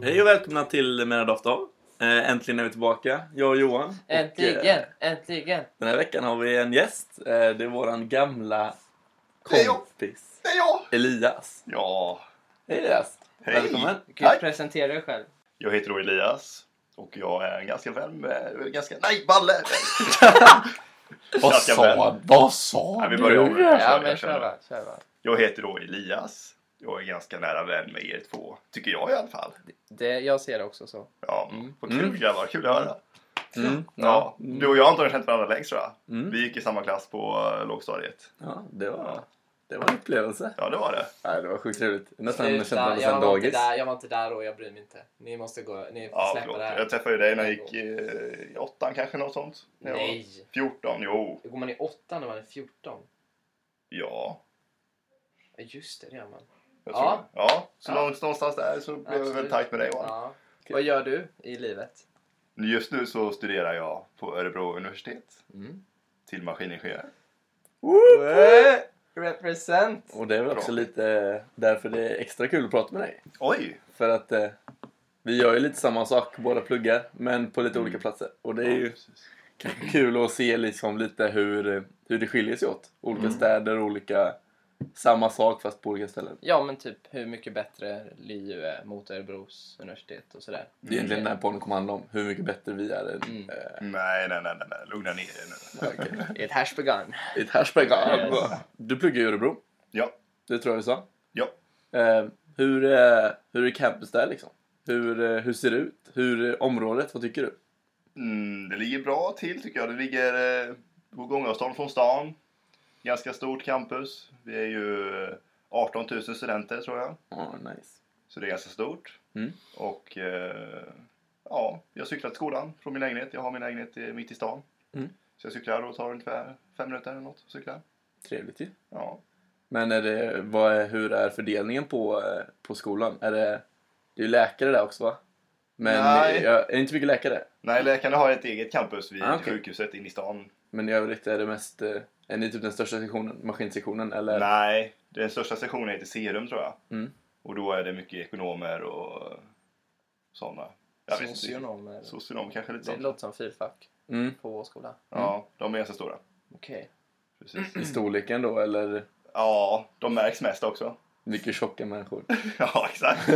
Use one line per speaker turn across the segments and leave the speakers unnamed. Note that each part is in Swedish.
och välkomna till Mina Doftdag. Eh, Äntligen är vi tillbaka, jag och Johan. Och, eh,
Äntligen, äntligen.
Den här veckan har vi en gäst. Eh, Det är våran gamla
Det är jag.
kompis
Det är jag!
Elias.
Ja,
Hej Elias!
hej!
Välkommen!
Du kan ju
Tack.
presentera dig själv.
Jag heter då Elias och jag är en ganska vän med, ganska, nej Balle! Ganska vän.
vad sa
Nej, vi börjar om. Jag kör,
Ja,
jag
men
kör
kör
nu.
va, kör va.
Jag heter då Elias. Jag är ganska nära vän med er två, tycker jag i alla fall.
Det, jag ser det också så.
Ja,
Mm.
vad kul
Mm.
grabbar, kul att höra.
Mm,
Ja,
ja.
du och jag har antagligen känt varandra längst tror jag.
Mm.
Vi gick i samma klass på eh, lågstadiet.
ja, det var... Det var en upplevelse.
Ja, det var det.
Nej, det var sjukt trevligt. Nästan
Sluta,
känt varandra
jag
sedan
var inte
dagis.
där, jag var inte där och jag bryr mig inte. Ni måste gå, ni får
Ja,
släppa
förlåt.
det här.
Jag träffade ju dig när jag gick eh, i åttan kanske, något sånt. När jag var
Nej!
14, jo.
Går man i åttan när man är 14?
Ja,
Ja, just det, det gör man.
jag
Ja.
tror det. Ja, så
Ja.
någonstans- någonstans där så blev jag
Absolut.
väl tajt med dig. va?
Ja. Vad gör du i livet?
Just nu så studerar jag på Örebro universitet
Mm.
till maskiningenjör.
Represent!
Och det är väl också
Bra.
lite därför det är extra kul att prata med dig.
Oj!
För att eh, vi gör ju lite samma sak, båda pluggar, men på lite olika platser. Och det är ju kul att se liksom lite hur, eh, hur det skiljer sig åt. Olika städer, olika... Samma sak fast på olika ställen.
Ja, men typ hur mycket bättre LiU är mot Örebros universitet och sådär.
Det är egentligen den här podden kommer handla om. Hur mycket bättre vi är än...
Mm.
eh,
Nej, nej, nej, nej, nej. lugna ner er nu.
okej.
Ett hashbegun.
I ett Hashberg.
Yes.
Du pluggar i Örebro.
Ja,
Det tror jag du sa.
ja.
Eh, hur, eh, hur är campus där liksom? Hur, eh, hur ser det ut? Hur är området? Vad tycker du?
Mm, det ligger bra till tycker jag. Det ligger eh, på gångavstånd från stan. Ganska stort campus. Vi är ju eh, 18 000 studenter tror jag.
Ja, nice.
Så det är ganska stort.
Mm.
Och eh, ja, jag cyklar till skolan från min lägenhet. Jag har min lägenhet eh, mitt i stan.
Mm.
Så jag cyklar och tar ungefär fem minuter eller något att cykla.
Trevligt ju.
Ja.
Men är det, vad är, hur är fördelningen på, eh, på skolan? Är det, det är ju läkare där också va? Men
Nej.
eh, jag, är det inte mycket läkare?
Nej, läkarna har ett eget campus vid
Ah, okej.
sjukhuset inne i stan.
Men i övrigt är det mest, eh, är ni typ den största sektionen, maskinsektionen eller?
Nej, den största sektionen heter Serum tror jag.
Mm.
Och då är det mycket ekonomer och sådana. Jag vet inte.
Socionomer.
Socionom kanske lite
Det
sånt.
låter som fyrfack
Mm,
på vår skola.
Ja, de är ganska stora.
Okej.
Precis.
I storleken då eller
Ja, de märks mest också.
mycket tjocka människor?
Ja, exakt.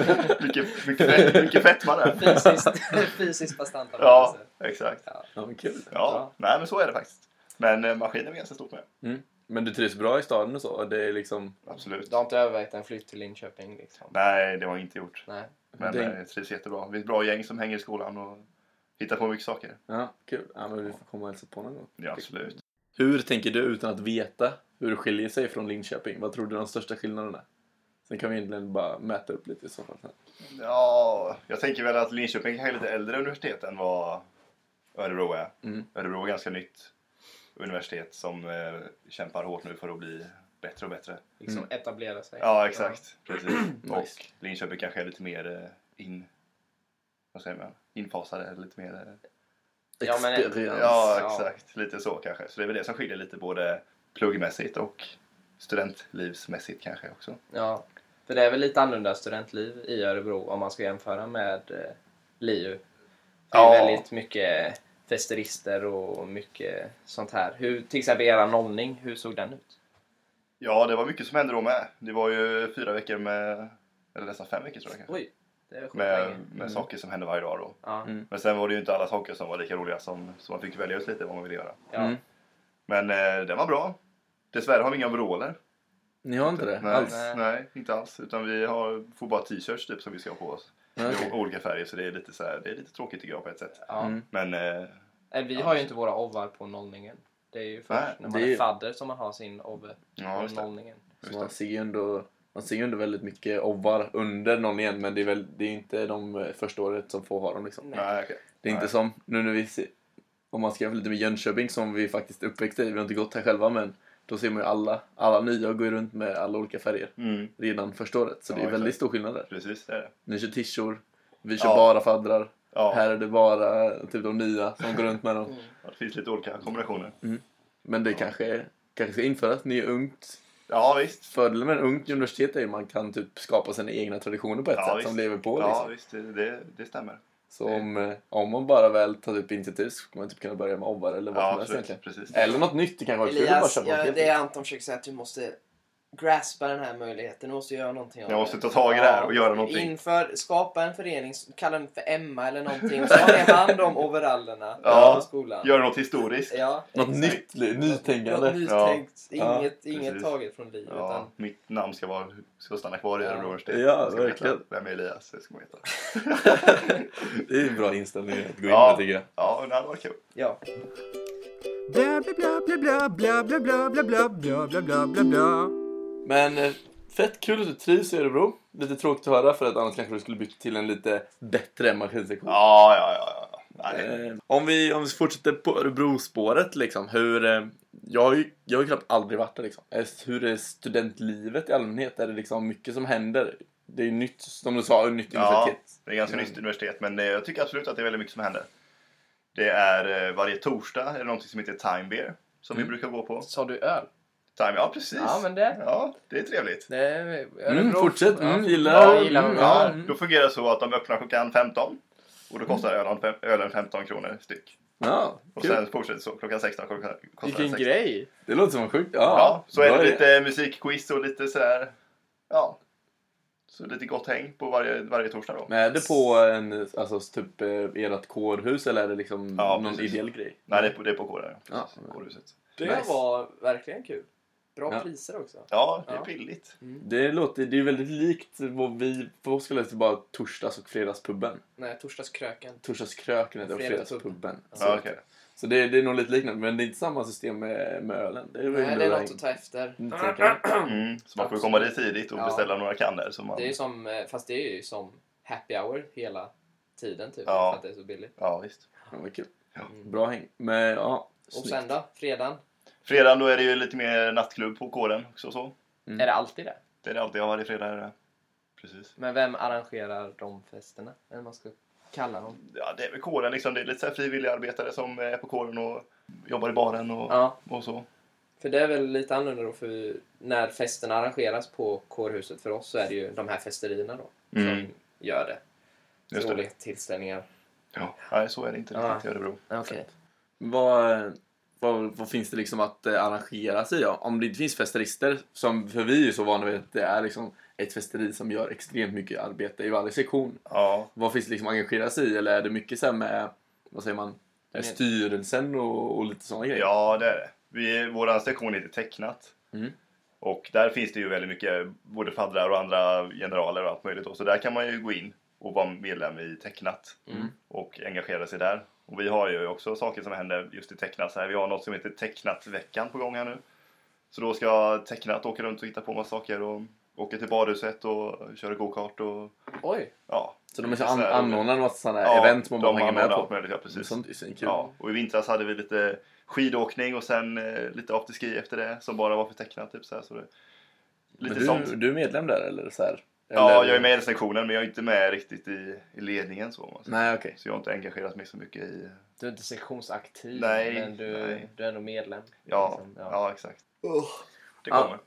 Mycket, mycket, fett, mycket fetma där.
Fysiskt, fysiskt bastanta
Ja, exakt.
Ja men kul.
Ja, nej men så är det faktiskt. Men eh, maskinen är ganska stort med.
Mm. Men du trivs bra i staden och så? Och Det är liksom,
Absolut.
Du har inte övervägt en flytt till Linköping liksom?
Nej, det har jag inte gjort.
Nej.
Men
Det-
eh, jag trivs jättebra. Vi är ett bra gäng som hänger i skolan och hittar på mycket saker.
ja kul. Ja men vi får komma och hälsa på någon gång.
Ja, absolut.
Hur tänker du utan att veta hur det skiljer sig från Linköping? Vad tror du de största skillnaderna är? Sen kan vi egentligen bara mäta upp lite i så fall. sen.
Ja, jag tänker väl att Linköping kanske är lite äldre universitet än vad Örebro är.
Mm.
Örebro är ganska nytt universitet som eh, kämpar hårt nu för att bli bättre och bättre.
Liksom etablera sig?
Mm. Ja, exakt. Precis.
Nice.
Och Linköping kanske är lite mer eh, in... Vad säger man? Infasade, eller lite mer... eh,
Ja, men-
Experience.
Ja,
Ja.
exakt. Lite så kanske. Så det är väl det som skiljer lite både pluggmässigt och studentlivsmässigt kanske också.
Ja. För det är väl lite annorlunda studentliv i Örebro om man ska jämföra med eh, LiU. Det är
Ja.
väldigt mycket festerister och mycket sånt här. Hur, till exempel era nollning, hur såg den ut?
Ja, det var mycket som hände då med. Det var ju fyra veckor med... Eller nästan fem veckor tror jag kanske.
Oj, det var sjukt
Med,
länge.
med saker som hände varje dag då.
Ja.
Mm.
Men sen var det ju inte alla saker som var lika roliga som, så man fick välja ut lite vad man ville göra.
Ja.
Mm.
Men eh, den var bra. Dessvärre har vi inga overaller.
Ni har inte det
Nej,
alls?
nej. inte alls. Utan vi har, får bara t-shirts typ som vi ska ha på oss.
Nej,
I o- olika färger så det är lite, så här, det är lite tråkigt tycker jag på ett sätt.
Ja.
Mm.
Men eh,
Nej, Vi
Ja,
har ju
så-
inte våra ovar på nollningen. Det är ju
Nej,
först när man
det är-
är fadder som man har sin ove
ja, just
på
det.
nollningen.
Så man ser ju ändå, man ser ju ändå väldigt mycket obbar under någon igen men det är väl det är inte de eh, första året som får ha dem liksom.
Nej, okej.
Det är inte
Nej.
som nu när vi ser, om man ska jämföra lite med Jönköping som vi faktiskt uppväxte i, vi har inte gått här själva men då ser man ju alla, alla nya går ju runt med alla olika färger
Mm,
redan första året så
Ja,
det är
exakt.
väldigt stor skillnad där.
precis, det är det.
Ni kör tishor, vi kör
Ja.
bara faddrar,
Ja,
här är det bara typ de nya som går runt med dem. Mm.
det finns lite olika kombinationer.
Men det kanske, kanske ska införas, ni är ungt,
Ja, visst.
Fördelen med en ungt universitet är ju att man kan typ skapa sina egna traditioner på ett
Ja,
sätt
visst.
som lever på.
Ja,
Liksom.
visst. Det, det, det stämmer.
Så om, eh, om man bara väl tar typ initiativ så kommer man typ kunna börja med obbar eller vad
Ja,
som helst
absolut.
egentligen.
Precis.
Eller något nytt, det kan vara kul att bara
Elias,
köpa
ja,
något
det
helt
är Anton försöker säga att du måste graspa den här möjligheten. Du måste göra någonting av
Jag
det.
måste ta tag i det här och göra någonting.
Inför, skapa en förening, kalla den för Emma eller någonting. Och så har ni hand om overallerna
Ja,
på skolan.
Göra något historiskt.
Ja,
nytt. Något
exakt.
nytt, li- nytänkande.
Något nyttänkt.
Ja.
Inget,
Ja,
inget
precis.
taget från livet.
Ja,
utan-
mitt namn ska, vara, ska stanna kvar i
Ja.
Örebro universitet.
Ja,
Jag ska
verkligen.
veta Vem är Elias? Det ska man veta.
Det är en bra inställning att gå in
Ja.
med tycker jag.
Ja, men det hade varit kul.
Ja.
Blah blah blah blah blah blah blah blah blah blah blah blah blah blah.
Men eh, fett kul att du trivs i Örebro. Lite tråkigt att höra för att annars kanske du skulle byta till en lite bättre maskinsektion.
Ja, ja, ja. ja. Nej.
Eh, om, vi, om vi fortsätter på Örebrospåret liksom. Hur, eh, jag, har ju, jag har ju knappt aldrig varit där liksom. Eh, Hur är studentlivet i allmänhet? Är det liksom mycket som händer? Det är ju nytt, som du sa, nytt
Ja.
universitet.
Det är ganska
Ja.
nytt universitet, men eh, jag tycker absolut att det är väldigt mycket som händer. Det är eh, varje torsdag är det någonting som heter Time Beer som
Mm.
vi brukar gå på.
Sa du öl?
Time, ja precis.
Ja, men det...
Ja, det är trevligt.
det är Örebro.
Mm, fortsätt, mm, gillar.
Ja, gillar
Mm,
ja.
Ja, Då fungerar det så att de öppnar klockan 15 och då kostar ölen, fem- ölen 15 kronor styck.
Ja,
Och
kul.
sen fortsätter det så klockan 16 klockan- kostar det
Vilken
16.
grej!
Det låter som en sjukt. Ja,
Ja, så är
bra
det
idé.
lite musikquiz och lite sådär, ja. Så lite gott häng på varje, varje torsdag då.
Men är det på en, alltså typ eh, ert kårhus eller är det liksom
Ja,
någon
precis.
ideell grej?
Nej, det är på, det är på kåren.
Ja.
precis, Kårhuset.
Det
Nice.
var verkligen kul. Bra
Ja.
priser också.
Ja, det är
Ja.
billigt.
Det låter, det är väldigt likt vad vi, för oss skulle det typ bara torsdags och fredagspubben.
Nej, torsdagskröken.
Torsdagskröken heter och
Fredagspubben.
fredagspubben.
Ja.
Så,
Ja, okej.
så det, det är nog lite liknande, men det är inte samma system med, med ölen. Det är väl
Nej, det är något att ta efter.
Mm, tänker jag.
Mm, så man får ju komma dit tidigt och
Ja.
beställa några kannor. Så man,
Det är ju som, eh, fast det är ju som happy hour hela tiden typ.
Ja.
För att det är så billigt. Mm.
ja, visst.
Ja, vad kul.
Ja.
Bra häng. Men ja,
Och
snyggt.
sen då? Fredagen?
Mm.
Fredagen då är det ju lite mer nattklubb på kåren också. Så.
Mm.
Är det alltid det?
Det är det alltid, ja varje fredag är det. Precis.
Men vem arrangerar de festerna? Eller vad man ska kalla dem?
Ja, det är väl kåren liksom. Det är lite så här frivilliga arbetare som är på kåren och jobbar i baren och,
Ja.
och så.
För det är väl lite annorlunda då, för när festerna arrangeras på kårhuset för oss så är det ju de här festerierna då
Mm.
som gör det.
Just
Så
det.
Roliga tillställningar.
Ja. Nej, så är det inte
Ja.
riktigt i Örebro.
Okej.
Vad, vad, vad finns det liksom att eh, arrangera sig av? Om det inte finns festerister, som, för vi är ju så vana vid att det är liksom ett festeri som gör extremt mycket arbete i varje sektion.
Ja,
Vad finns det liksom att engagera sig i? Eller är det mycket så här med, vad säger man, eh, styrelsen och, och lite sådana grejer?
ja det är det. Vi, vår sektion heter Tecknat.
Mm.
Och där finns det ju väldigt mycket både faddrar och andra generaler och allt möjligt. då. Så där kan man ju gå in och vara medlem i Tecknat.
Mm.
och engagera sig där. Och vi har ju också saker som händer just i Tecknat. Så här, vi har något som heter Tecknatveckan på gång här nu. Så då ska Tecknat åka runt och hitta på massa saker och åka till badhuset och köra gokart och
Oj!
ja.
Så de är så
Så
an,
här-
anordnar något sådana här event man bara
de
hänger med
anordnar allt
på.
möjligt, ja, precis.
Sånt är ju svinkul.
Ja, och i vintras hade vi lite skidåkning och sen eh, lite afterski efter det som bara var för Tecknat typ så här. Så det,
Men
lite sånt.
du, du är medlem där eller så här?
Ja,
Eller-
jag är med i sektionen men jag är inte med riktigt i, i ledningen så. om man säger.
Nej, okej.
Så jag har inte engagerat mig så mycket i...
Du är inte sektionsaktiv,
Nej,
men du,
nej.
du är ändå medlem.
Ja,
Liksom,
ja.
ja.
exakt.
Oh.
Det
Ja.
kommer.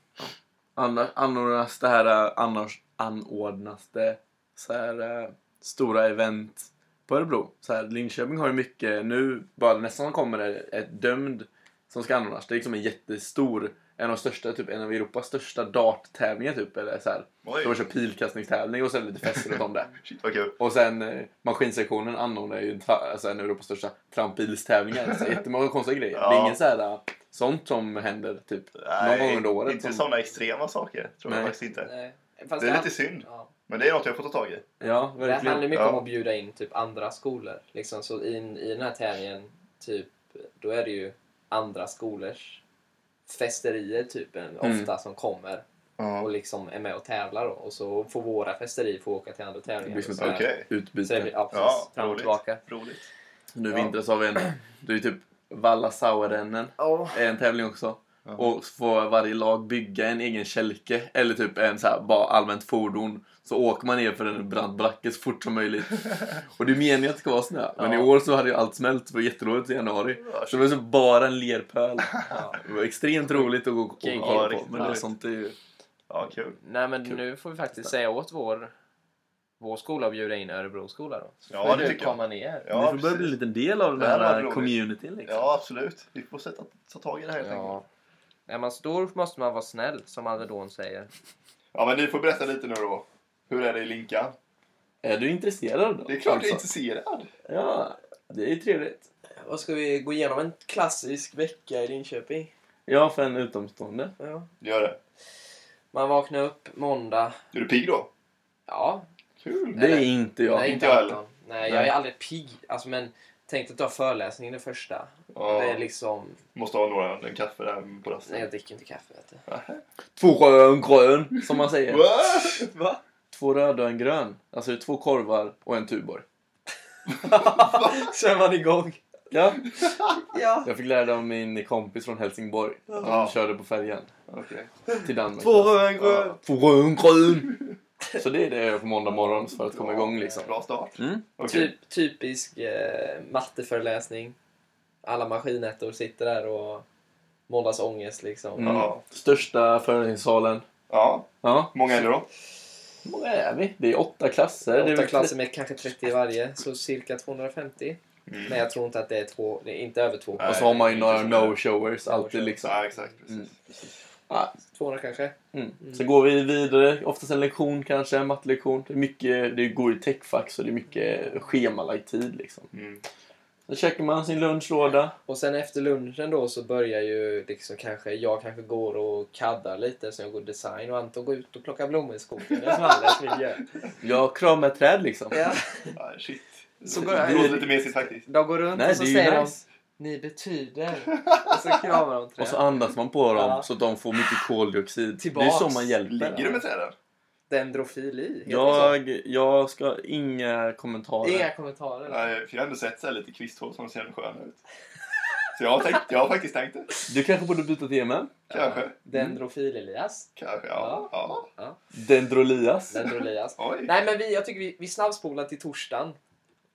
Annars, anordnas det här, eh, annars anordnas det så här eh, stora event på Örebro. Så här, Linköping har ju mycket, nu bara nästa som kommer är ett dömd som ska anordnas. Det är liksom en jättestor, en av de största, typ en av Europas största darttävlingar typ. Eller så här.
Oj.
De kör pilkastningstävling och sen lite fest runt om det.
Shit vad kul.
Och sen eh, maskinsektionen anordnar ju en tra- alltså en av Europas största trampbilstävlingar. Så jättemånga konstiga grejer.
Ja.
Det är inget så här, eh, sånt som händer typ någon gång under året.
Inte
som-
sådana extrema saker, tror
Nej.
jag faktiskt inte.
Nej. Fast
Det är
han-
lite synd,
Ja.
men det är något jag får ta tag i.
Ja,
Det handlar
verkligen.
mycket om
Ja.
att bjuda in typ andra skolor. Liksom, så i, I den här tävlingen, typ, då är det ju andra skolors festerier typ, en-
Mm.
ofta som kommer och liksom är med och tävlar. Då. Och så får våra festerier få åka till andra
Det
tävlingar.
blir som
och
ett
så här.
Okej.
utbyte.
Så det blir ja, precis,
Ja,
fram och
roligt.
tillbaka.
Roligt.
Nu i
Ja.
vintras har vi en, det är typ Valla Sauerrennen.
Ja,
är en tävling också.
Ja.
Och så får varje lag bygga en egen kälke eller typ en så här, bara allmänt fordon. Så åker man ner för en brant backe så fort som möjligt. Och det är meningen att det ska vara snö. Men
Ja.
i år så hade ju allt smält. Det var jätteroligt i januari.
Ja,
Så det var så bara en lerpöl.
Ja.
Det var extremt roligt att gå och
Kul,
kolla på.
riktigt
Men det är
nice.
sånt är ju...
Ja, kul.
Nej, men nu får vi faktiskt säga åt vår, vår skola att bjuda in Örebro skola då. Så
Ja,
får
det
du
tycker jag.
komma ner.
Ni
Ja,
får börja bli en
precis.
liten del av
Det
den
här var
här
roligt.
communityn liksom.
ja absolut. Vi får sätta, ta tag i det här helt enkelt.
Ja. Är man stor måste man vara snäll, som Alvedon säger.
Ja, men ni får berätta lite nu då. Hur är det i Linka?
Är du intresserad då?
Det är klart jag är
Alltså.
intresserad.
Ja, det är ju trevligt.
Vad ska vi gå igenom? En klassisk vecka i Linköping.
Ja, för en utomstående.
Ja.
Gör det.
Man vaknar upp måndag.
Är du pigg då?
Ja.
Kul.
Det är
Eller-
inte jag.
Nej,
inte
inte
jag
Anton. Nej, jag
Nej.
är aldrig pigg. Alltså, men tänk att ta föreläsning det första.
Ja.
Det är liksom...
Måste ha några, en kaffe där på
Nej,
rasten.
jag dricker inte kaffe, vet du.
Två röd och en grön, som man säger.
Va?
Va?
Två röda och en grön. Alltså det är två korvar och en Tuborg.
Så är man igång.
Ja.
Ja.
Jag fick lära det av min kompis från Helsingborg. Han
Ja.
körde på färjan
Okej.
till Danmark.
och en grön.
Två röda och en grön. Så det är det jag gör på måndag morgon för att komma igång liksom.
Bra start.
Mm.
Okej.
Typ, typisk eh, matteföreläsning. Alla maskinettor sitter där och måndags ångest liksom.
Mm.
Ja.
Största föreläsningssalen.
ja.
Ja.
Många är det då?
Hur många är vi? Det är åtta klasser. det är
Åtta
väl
klasser med kanske 30 i varje, så cirka 250.
Mm.
Men jag tror inte att det är två, det är inte över två.
Och
Nej.
så har man ju
inte
några
så
no-showers alltid liksom.
Ja, exakt. Precis.
Mm.
200 kanske.
Mm. Så går vi vidare, oftast en lektion kanske, en mattelektion. Det, är mycket, det går i techfack så det är mycket schemalagd tid liksom.
Mm.
Sen käkar man sin lunchlåda.
Och sen efter lunchen då så börjar ju liksom kanske, jag kanske går och kaddar lite så jag går design och Anton går ut och plockar blommor i skogen. Det är som Anders vill göra.
Jag kramar ett träd liksom.
Ja, shit.
Så
det
går jag-
låter lite mesigt faktiskt.
De går runt
Nej,
och så
det är ju
säger
nice.
de Ni betyder. Och så kramar de
Och så
träd.
andas man på dem
Ja.
så att de får mycket koldioxid.
Tillbaks.
Det är så man hjälper.
liksom?
Ligger du med träden?
Dendrofili. heter det så?
Jag, jag ska inga kommentarer.
Inga kommentarer.
Nej, för jag har ändå sett så här lite kvisthål som ser sköna ut. Så jag har, tänkt, jag har faktiskt tänkt det.
Du kanske borde byta tema.
Kanske.
Dendrofil-Elias.
Kanske, ja. ja.
Dendrolias.
Dendrolias.
Oj.
Nej men vi, jag tycker vi, vi snabbspolar till torsdagen.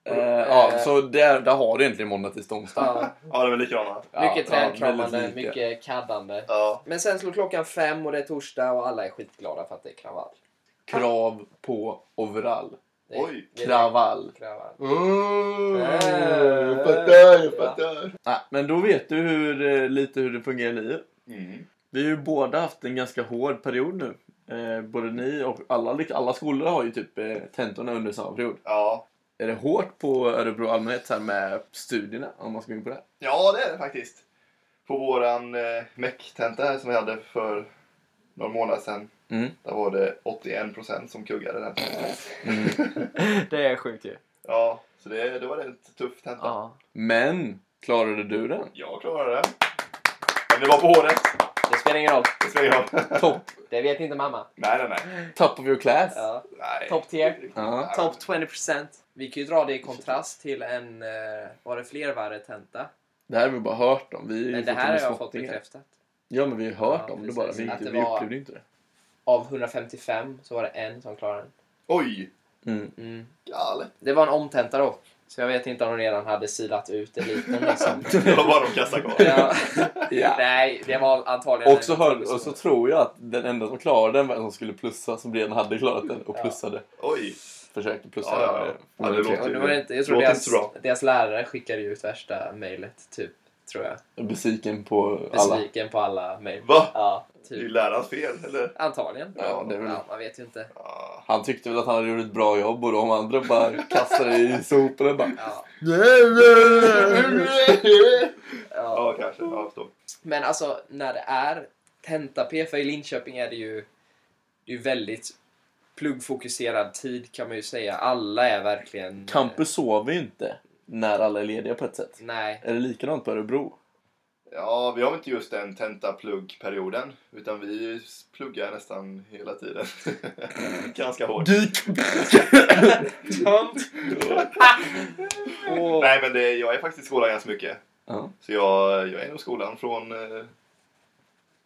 Eh, ja, så där, där har du egentligen måndag, tisdag, onsdag.
Ja,
Ja, det var likadana.
mycket
Ja, ja,
trädkramande,
väldigt
mycket. kaddande.
Ja.
Men sen slår klockan fem och det är torsdag och alla är skitglada för att det är kravall.
Krav på overall.
Det är,
Oj.
det är
Kravall.
kravall.
Oh,
Äh.
jag fattar, jag fattar.
Ah.
Nej, men då vet du hur, eh, lite hur det fungerar i livet.
Mm.
Vi har ju båda haft en ganska hård period nu. Eh, både ni och alla, liksom, alla skolor har ju typ eh, tentorna under samma period.
Ja.
Är det hårt på Örebro allmänhet så här med studierna om man ska gå in på det? här?
ja, det är det faktiskt. På våran eh, MEC-tenta här som vi hade för några månader sedan.
Mm.
Där var det 81% som kuggade den.
Det är sjukt ju.
Ja, så det, det var en tuff tenta.
Ja.
Men klarade du den?
Jag klarade det. Men det var på håret.
Det spelar ingen roll.
Det spelar ingen roll.
Topp!
Det vet inte mamma.
Nej, nej, nej.
Top of your class!
Ja.
nej.
Top tier.
Ja.
Top 20%. Vi kan ju dra det i kontrast till en, eh, var det flervarvetenta?
Det här har vi bara hört om. Vi är ju
Men det här har
fortfarande
jag fått
småttingar.
bekräftat.
Ja, men vi har hört
Ja,
om det
precis.
bara. Vi,
Att
inte,
det
vi
var-
upplevde inte det.
Av 155 så var det en som klarade den.
Oj!
Mm.
Mm.
Galet.
Det var en omtenta dock. Så jag vet inte om de redan hade silat ut eliten liksom.
Det var bara de kassa kvar.
ja.
Ja.
Nej, det var antagligen...
Och så, hör, och så tror jag att den enda som klarade den var den som skulle plussa, som redan hade klarat den och
Ja.
plussade.
Oj!
Försökte plussa.
Ja, ja, ja. Ja, det
Okej.
Och
låter-
det var inte, jag tror
Låter
deras,
inte så
deras lärare skickade ut värsta mejlet, typ. Tror jag.
Besviken på alla.
Besviken på alla mejl.
Va?
Ja,
Det är ju
typ.
lärarens fel, eller?
Antagligen.
Ja, det är väl-
ja, man vet ju inte.
Ja.
Han tyckte väl att han hade gjort ett bra jobb och de andra bara kastade i soporna. Bara,
Ja, ja.
Ja, kanske. Ja, jag förstår.
Men alltså, när det är tenta-P, för i Linköping är det ju, det är ju väldigt pluggfokuserad tid kan man ju säga. Alla är verkligen... eh,
Campus sover ju inte när alla är lediga på ett sätt.
Nej.
Är det likadant på Örebro?
Ja, vi har inte just den tentapluggperioden, utan vi pluggar nästan hela tiden. Ganska hårt.
Dyk!
Åh.
Nej, men det, jag är faktiskt i skolan ganska mycket.
Ja.
Så jag, jag är nog i skolan från eh,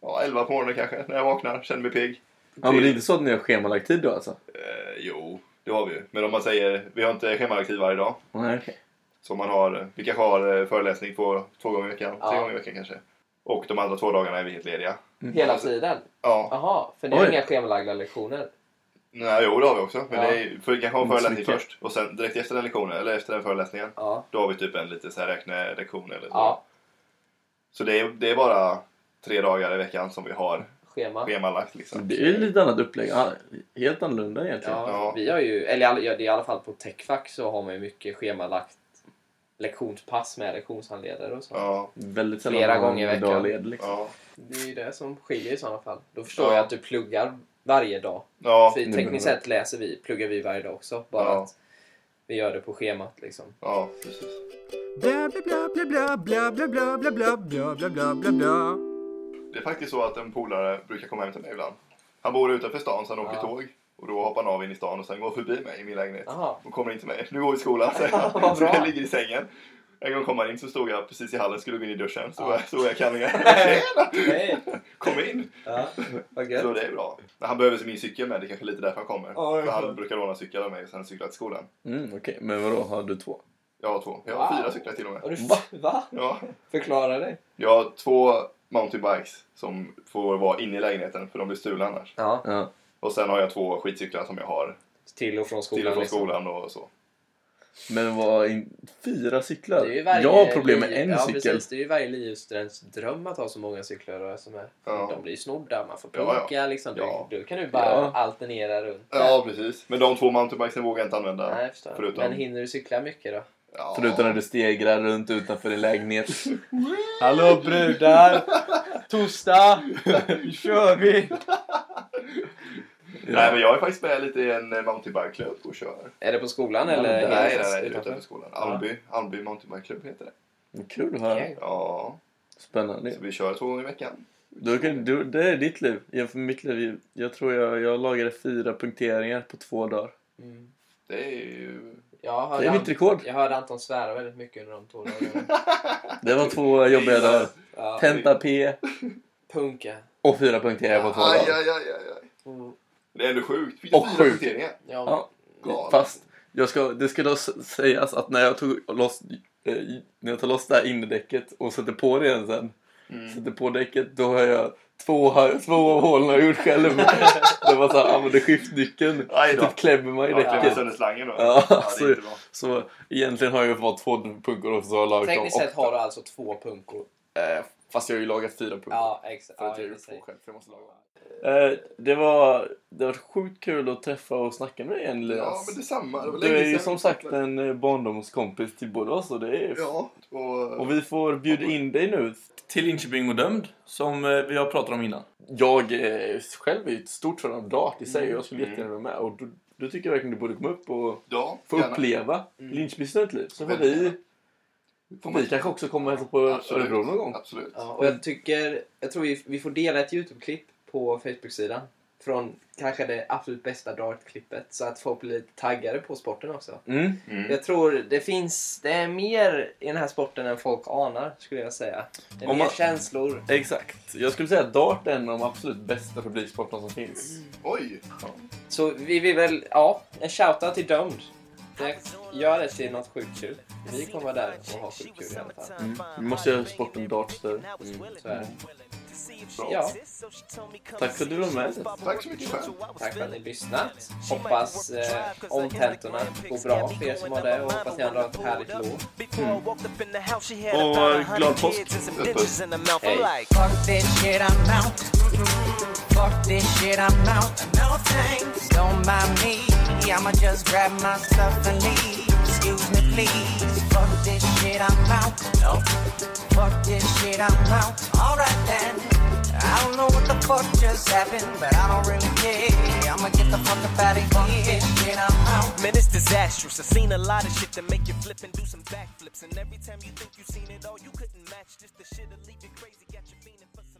ja, 11 på morgonen kanske, när jag vaknar, känner mig pigg.
Ja, men det är inte så att ni har schemalagd tid då alltså?
Eh, jo, det har vi ju. Men om man säger, vi har inte schemalagd varje dag.
Nej, okej.
Så man har, vi kanske har eh, föreläsning på två gånger i veckan,
Ja.
tre gånger i veckan kanske. Och de andra två dagarna är vi helt lediga.
Hela tiden?
Ja,
Jaha, för ni har
Oj.
inga schemalagda lektioner?
Nej, jo det har vi också. Men
Ja.
det är, för vi kanske har en
Inte så
föreläsning
mycket.
först och sen direkt efter den lektionen, eller efter den föreläsningen,
Ja.
då har vi typ en lite så här räknelektion eller så.
Ja,
Så det är, det är bara tre dagar i veckan som vi har
schema.
schemalagt liksom.
Det är ju lite annat upplägg. Ja, helt annorlunda egentligen.
Ja,
Ja.
Vi har ju, eller i alla- ja, det är i alla fall på Techfack så har man ju mycket schemalagt lektionspass med lektionshandledare och så.
Ja,
Väldigt sällan
Flera
man har
gånger i
en
veckan.
dag led, liksom.
ja,
Det är ju det som skiljer i sådana fall. Då förstår
Ja.
jag att du pluggar varje dag.
ja,
För
det
tekniskt
menar
sett läser vi, pluggar vi varje dag också. Bara
Ja.
att vi gör det på schemat liksom.
ja, precis.
Bla bla bla bla bla bla bla bla bla bla bla bla bla bla.
Det är faktiskt så att en polare brukar komma hem till mig ibland. Han bor utanför stan så han åker
Ja.
tåg. Och då hoppar han av in i stan och sen går förbi mig i min lägenhet.
Jaha.
och kommer in till mig. Nu går vi i skolan, säger han.
Vad
Så
bra.
jag ligger i sängen. En gång kom han in så stod jag precis i hallen, skulle gå in i duschen. Så
Ja.
jag, stod jag i kallingar.
Hej!
Kom in!
Ja, vad gött.
Så det är bra. Men han behöver sig min cykel med, det är kanske lite därför han kommer.
Ja, jag
För han
förstår.
brukar låna cykel av mig och sen cykla till skolan.
Mm, Okej, men vadå, har du två?
Jag har två. Jag har
Wow.
fyra cyklar till och med.
Och du, va? va?
Ja.
Förklara dig.
Jag har två mountainbikes som får vara inne i lägenheten för de blir stulna annars.
Ja.
Ja.
Och sen har jag två skitcyklar som jag har
Till och från skolan.
till och från
liksom.
skolan och så.
Men vad, in, fyra cyklar?
Det är ju varje
jag har problem med
liv-
en
ja,
cykel.
Precis, det är ju varje LiU-students dröm att ha så många cyklar och som är.
Ja.
De blir ju snodda, man får
Ja, ja.
plocka liksom. Du,
Ja.
du kan ju bara
Ja.
alternera runt.
Ja, precis. Men de två mountainbikesen vågar jag inte använda.
Nej, jag förstår.
Förutom-
Men hinner du cykla mycket då?
Ja.
Förutom när du stegrar runt utanför din lägenhet.
Hallå brudar! Torsdag! Nu kör vi!
Nej, men jag är faktiskt med lite i en eh, mountainbikeklubb och kör.
Är det på skolan
Ja,
eller?
där Eh,
hinner
Nej,
du
nej,
fast
nej,
utanför?
utanför skolan. Alby, Alby Mountainbikeklubb heter det.
Vad Kul att höra.
Okej.
Ja,
Spännande.
så vi kör två gånger i veckan.
Du kan, du, det är ditt liv. Jämfört med mitt liv. Jag tror jag, jag lagade fyra punkteringar på två dagar.
Mm.
Det är ju...
Jag,
Det
hörde
är mitt rekord.
jag hörde Anton svära väldigt mycket under de två dagarna.
Det var två jobbiga dagar.
ja,
Tenta P
punka.
och fyra punkteringar på två
Aj,
dagar.
aj, aj, aj, aj.
Mm.
Det är ändå sjukt. Fick du
Och
fyra
sjukt.
punkteringar?
Ja,
Ja.
Galet.
Fast jag ska, det ska då s- sägas att när jag tog loss, eh, när jag tar loss det här innerdäcket och sätter på det igen sen.
Mm.
Sätter på däcket, då har jag två, här- två av hålen har jag gjort själv. det var så här, använder skiftnyckeln.
Aj då.
Typ klämmer man i
Ja, det blev
däcket.
sönder slangen då.
Ja,
det
alltså,
är inte bra.
Så egentligen har jag fått två punkor och så har jag lagat dem
Tekniskt sett
åtta.
har du alltså två punkor.
Eh, fast jag har ju lagat fyra punkor.
Ja, exakt.
För att jag
Ja, i
gjorde
och för sig.
två själv, för jag måste laga dem. Eh, det var, det var sjukt kul att träffa och snacka med dig igen
Ja,
Elias.
men detsamma. Det var
du
länge
är ju
sedan.
som sagt en eh, barndomskompis till båda oss och det är
Ja, och...
Och vi får bjuda in dig nu till Linköping och dömd, som eh, vi har pratat om innan. Jag eh, själv är ju ett stort fan av dart i sig och jag skulle
Mm.
jättegärna vara med. Och du, du tycker jag verkligen du borde komma upp och
ja,
få
gärna.
uppleva Linköpings studentliv. Så får
Väldigt
vi,
gärna.
får vi kanske också komma och hälsa på
Absolut.
Örebro någon gång.
Absolut.
Ja, och
Mm.
jag tycker, jag tror vi, vi får dela ett YouTube-klipp på Facebook-sidan från kanske det absolut bästa dartklippet så att folk blir lite taggade på sporten också.
Mm.
Mm.
Jag tror det finns, det är mer i den här sporten än folk anar skulle jag säga. Det är
Om
mer
man-
känslor.
Exakt. Jag skulle säga att dart är en av de absolut bästa publiksporterna som finns.
Oj!
Så vi vill väl, ja, en shoutout till Dömd. Det, gör det till något sjukt kul. Vi kommer vara där och ha sjukt kul i alla fall.
Mm. Vi måste göra sporten Mm, dart större.
Så är det.
Bra.
Ja,
Tack för att du var med.
Tack så mycket själv.
tack för att ni lyssnat. Hoppas eh, omtentorna går bra för er som har det och hoppas ni andra har ett härligt lov.
Och eh, glad påsk!
Hej.
Fuck this shit, I'm out. Mm-hmm. Fuck this shit, I'm out. No thanks. Don't mind me. I'ma just grab my stuff and leave. Excuse me, please. Fuck this shit, I'm out. No. Fuck this shit, I'm out. Alright then. I don't know what the fuck just happened, but I don't really care. I'ma get the fuck up out of here. Fuck this shit, I'm out.
Man, it's disastrous. I've seen a lot of shit that make you flip and do some backflips. And every time you think you've seen it all, you couldn't match this. The shit'll leave you crazy. Got you feeling for some.